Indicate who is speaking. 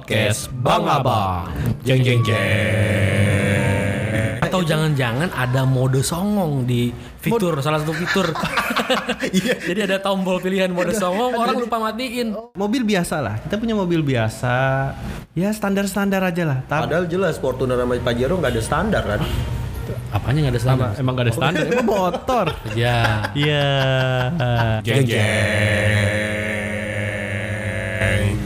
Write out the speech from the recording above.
Speaker 1: Podcast Bang Abang. Jeng jeng jeng.
Speaker 2: Atau jangan-jangan ada mode songong di fitur salah satu fitur.
Speaker 1: Iya.
Speaker 2: Jadi ada tombol pilihan mode songong, orang lupa matiin.
Speaker 3: Mobil biasa lah, kita punya mobil biasa, ya standar-standar aja lah. Tapi
Speaker 4: Padahal jelas Fortuner sama Pajero nggak ada standar kan.
Speaker 2: Apanya nggak ada sama?
Speaker 1: Emang gak ada standar.
Speaker 3: emang motor.
Speaker 2: Ya.
Speaker 3: Iya.
Speaker 1: Jeng jeng.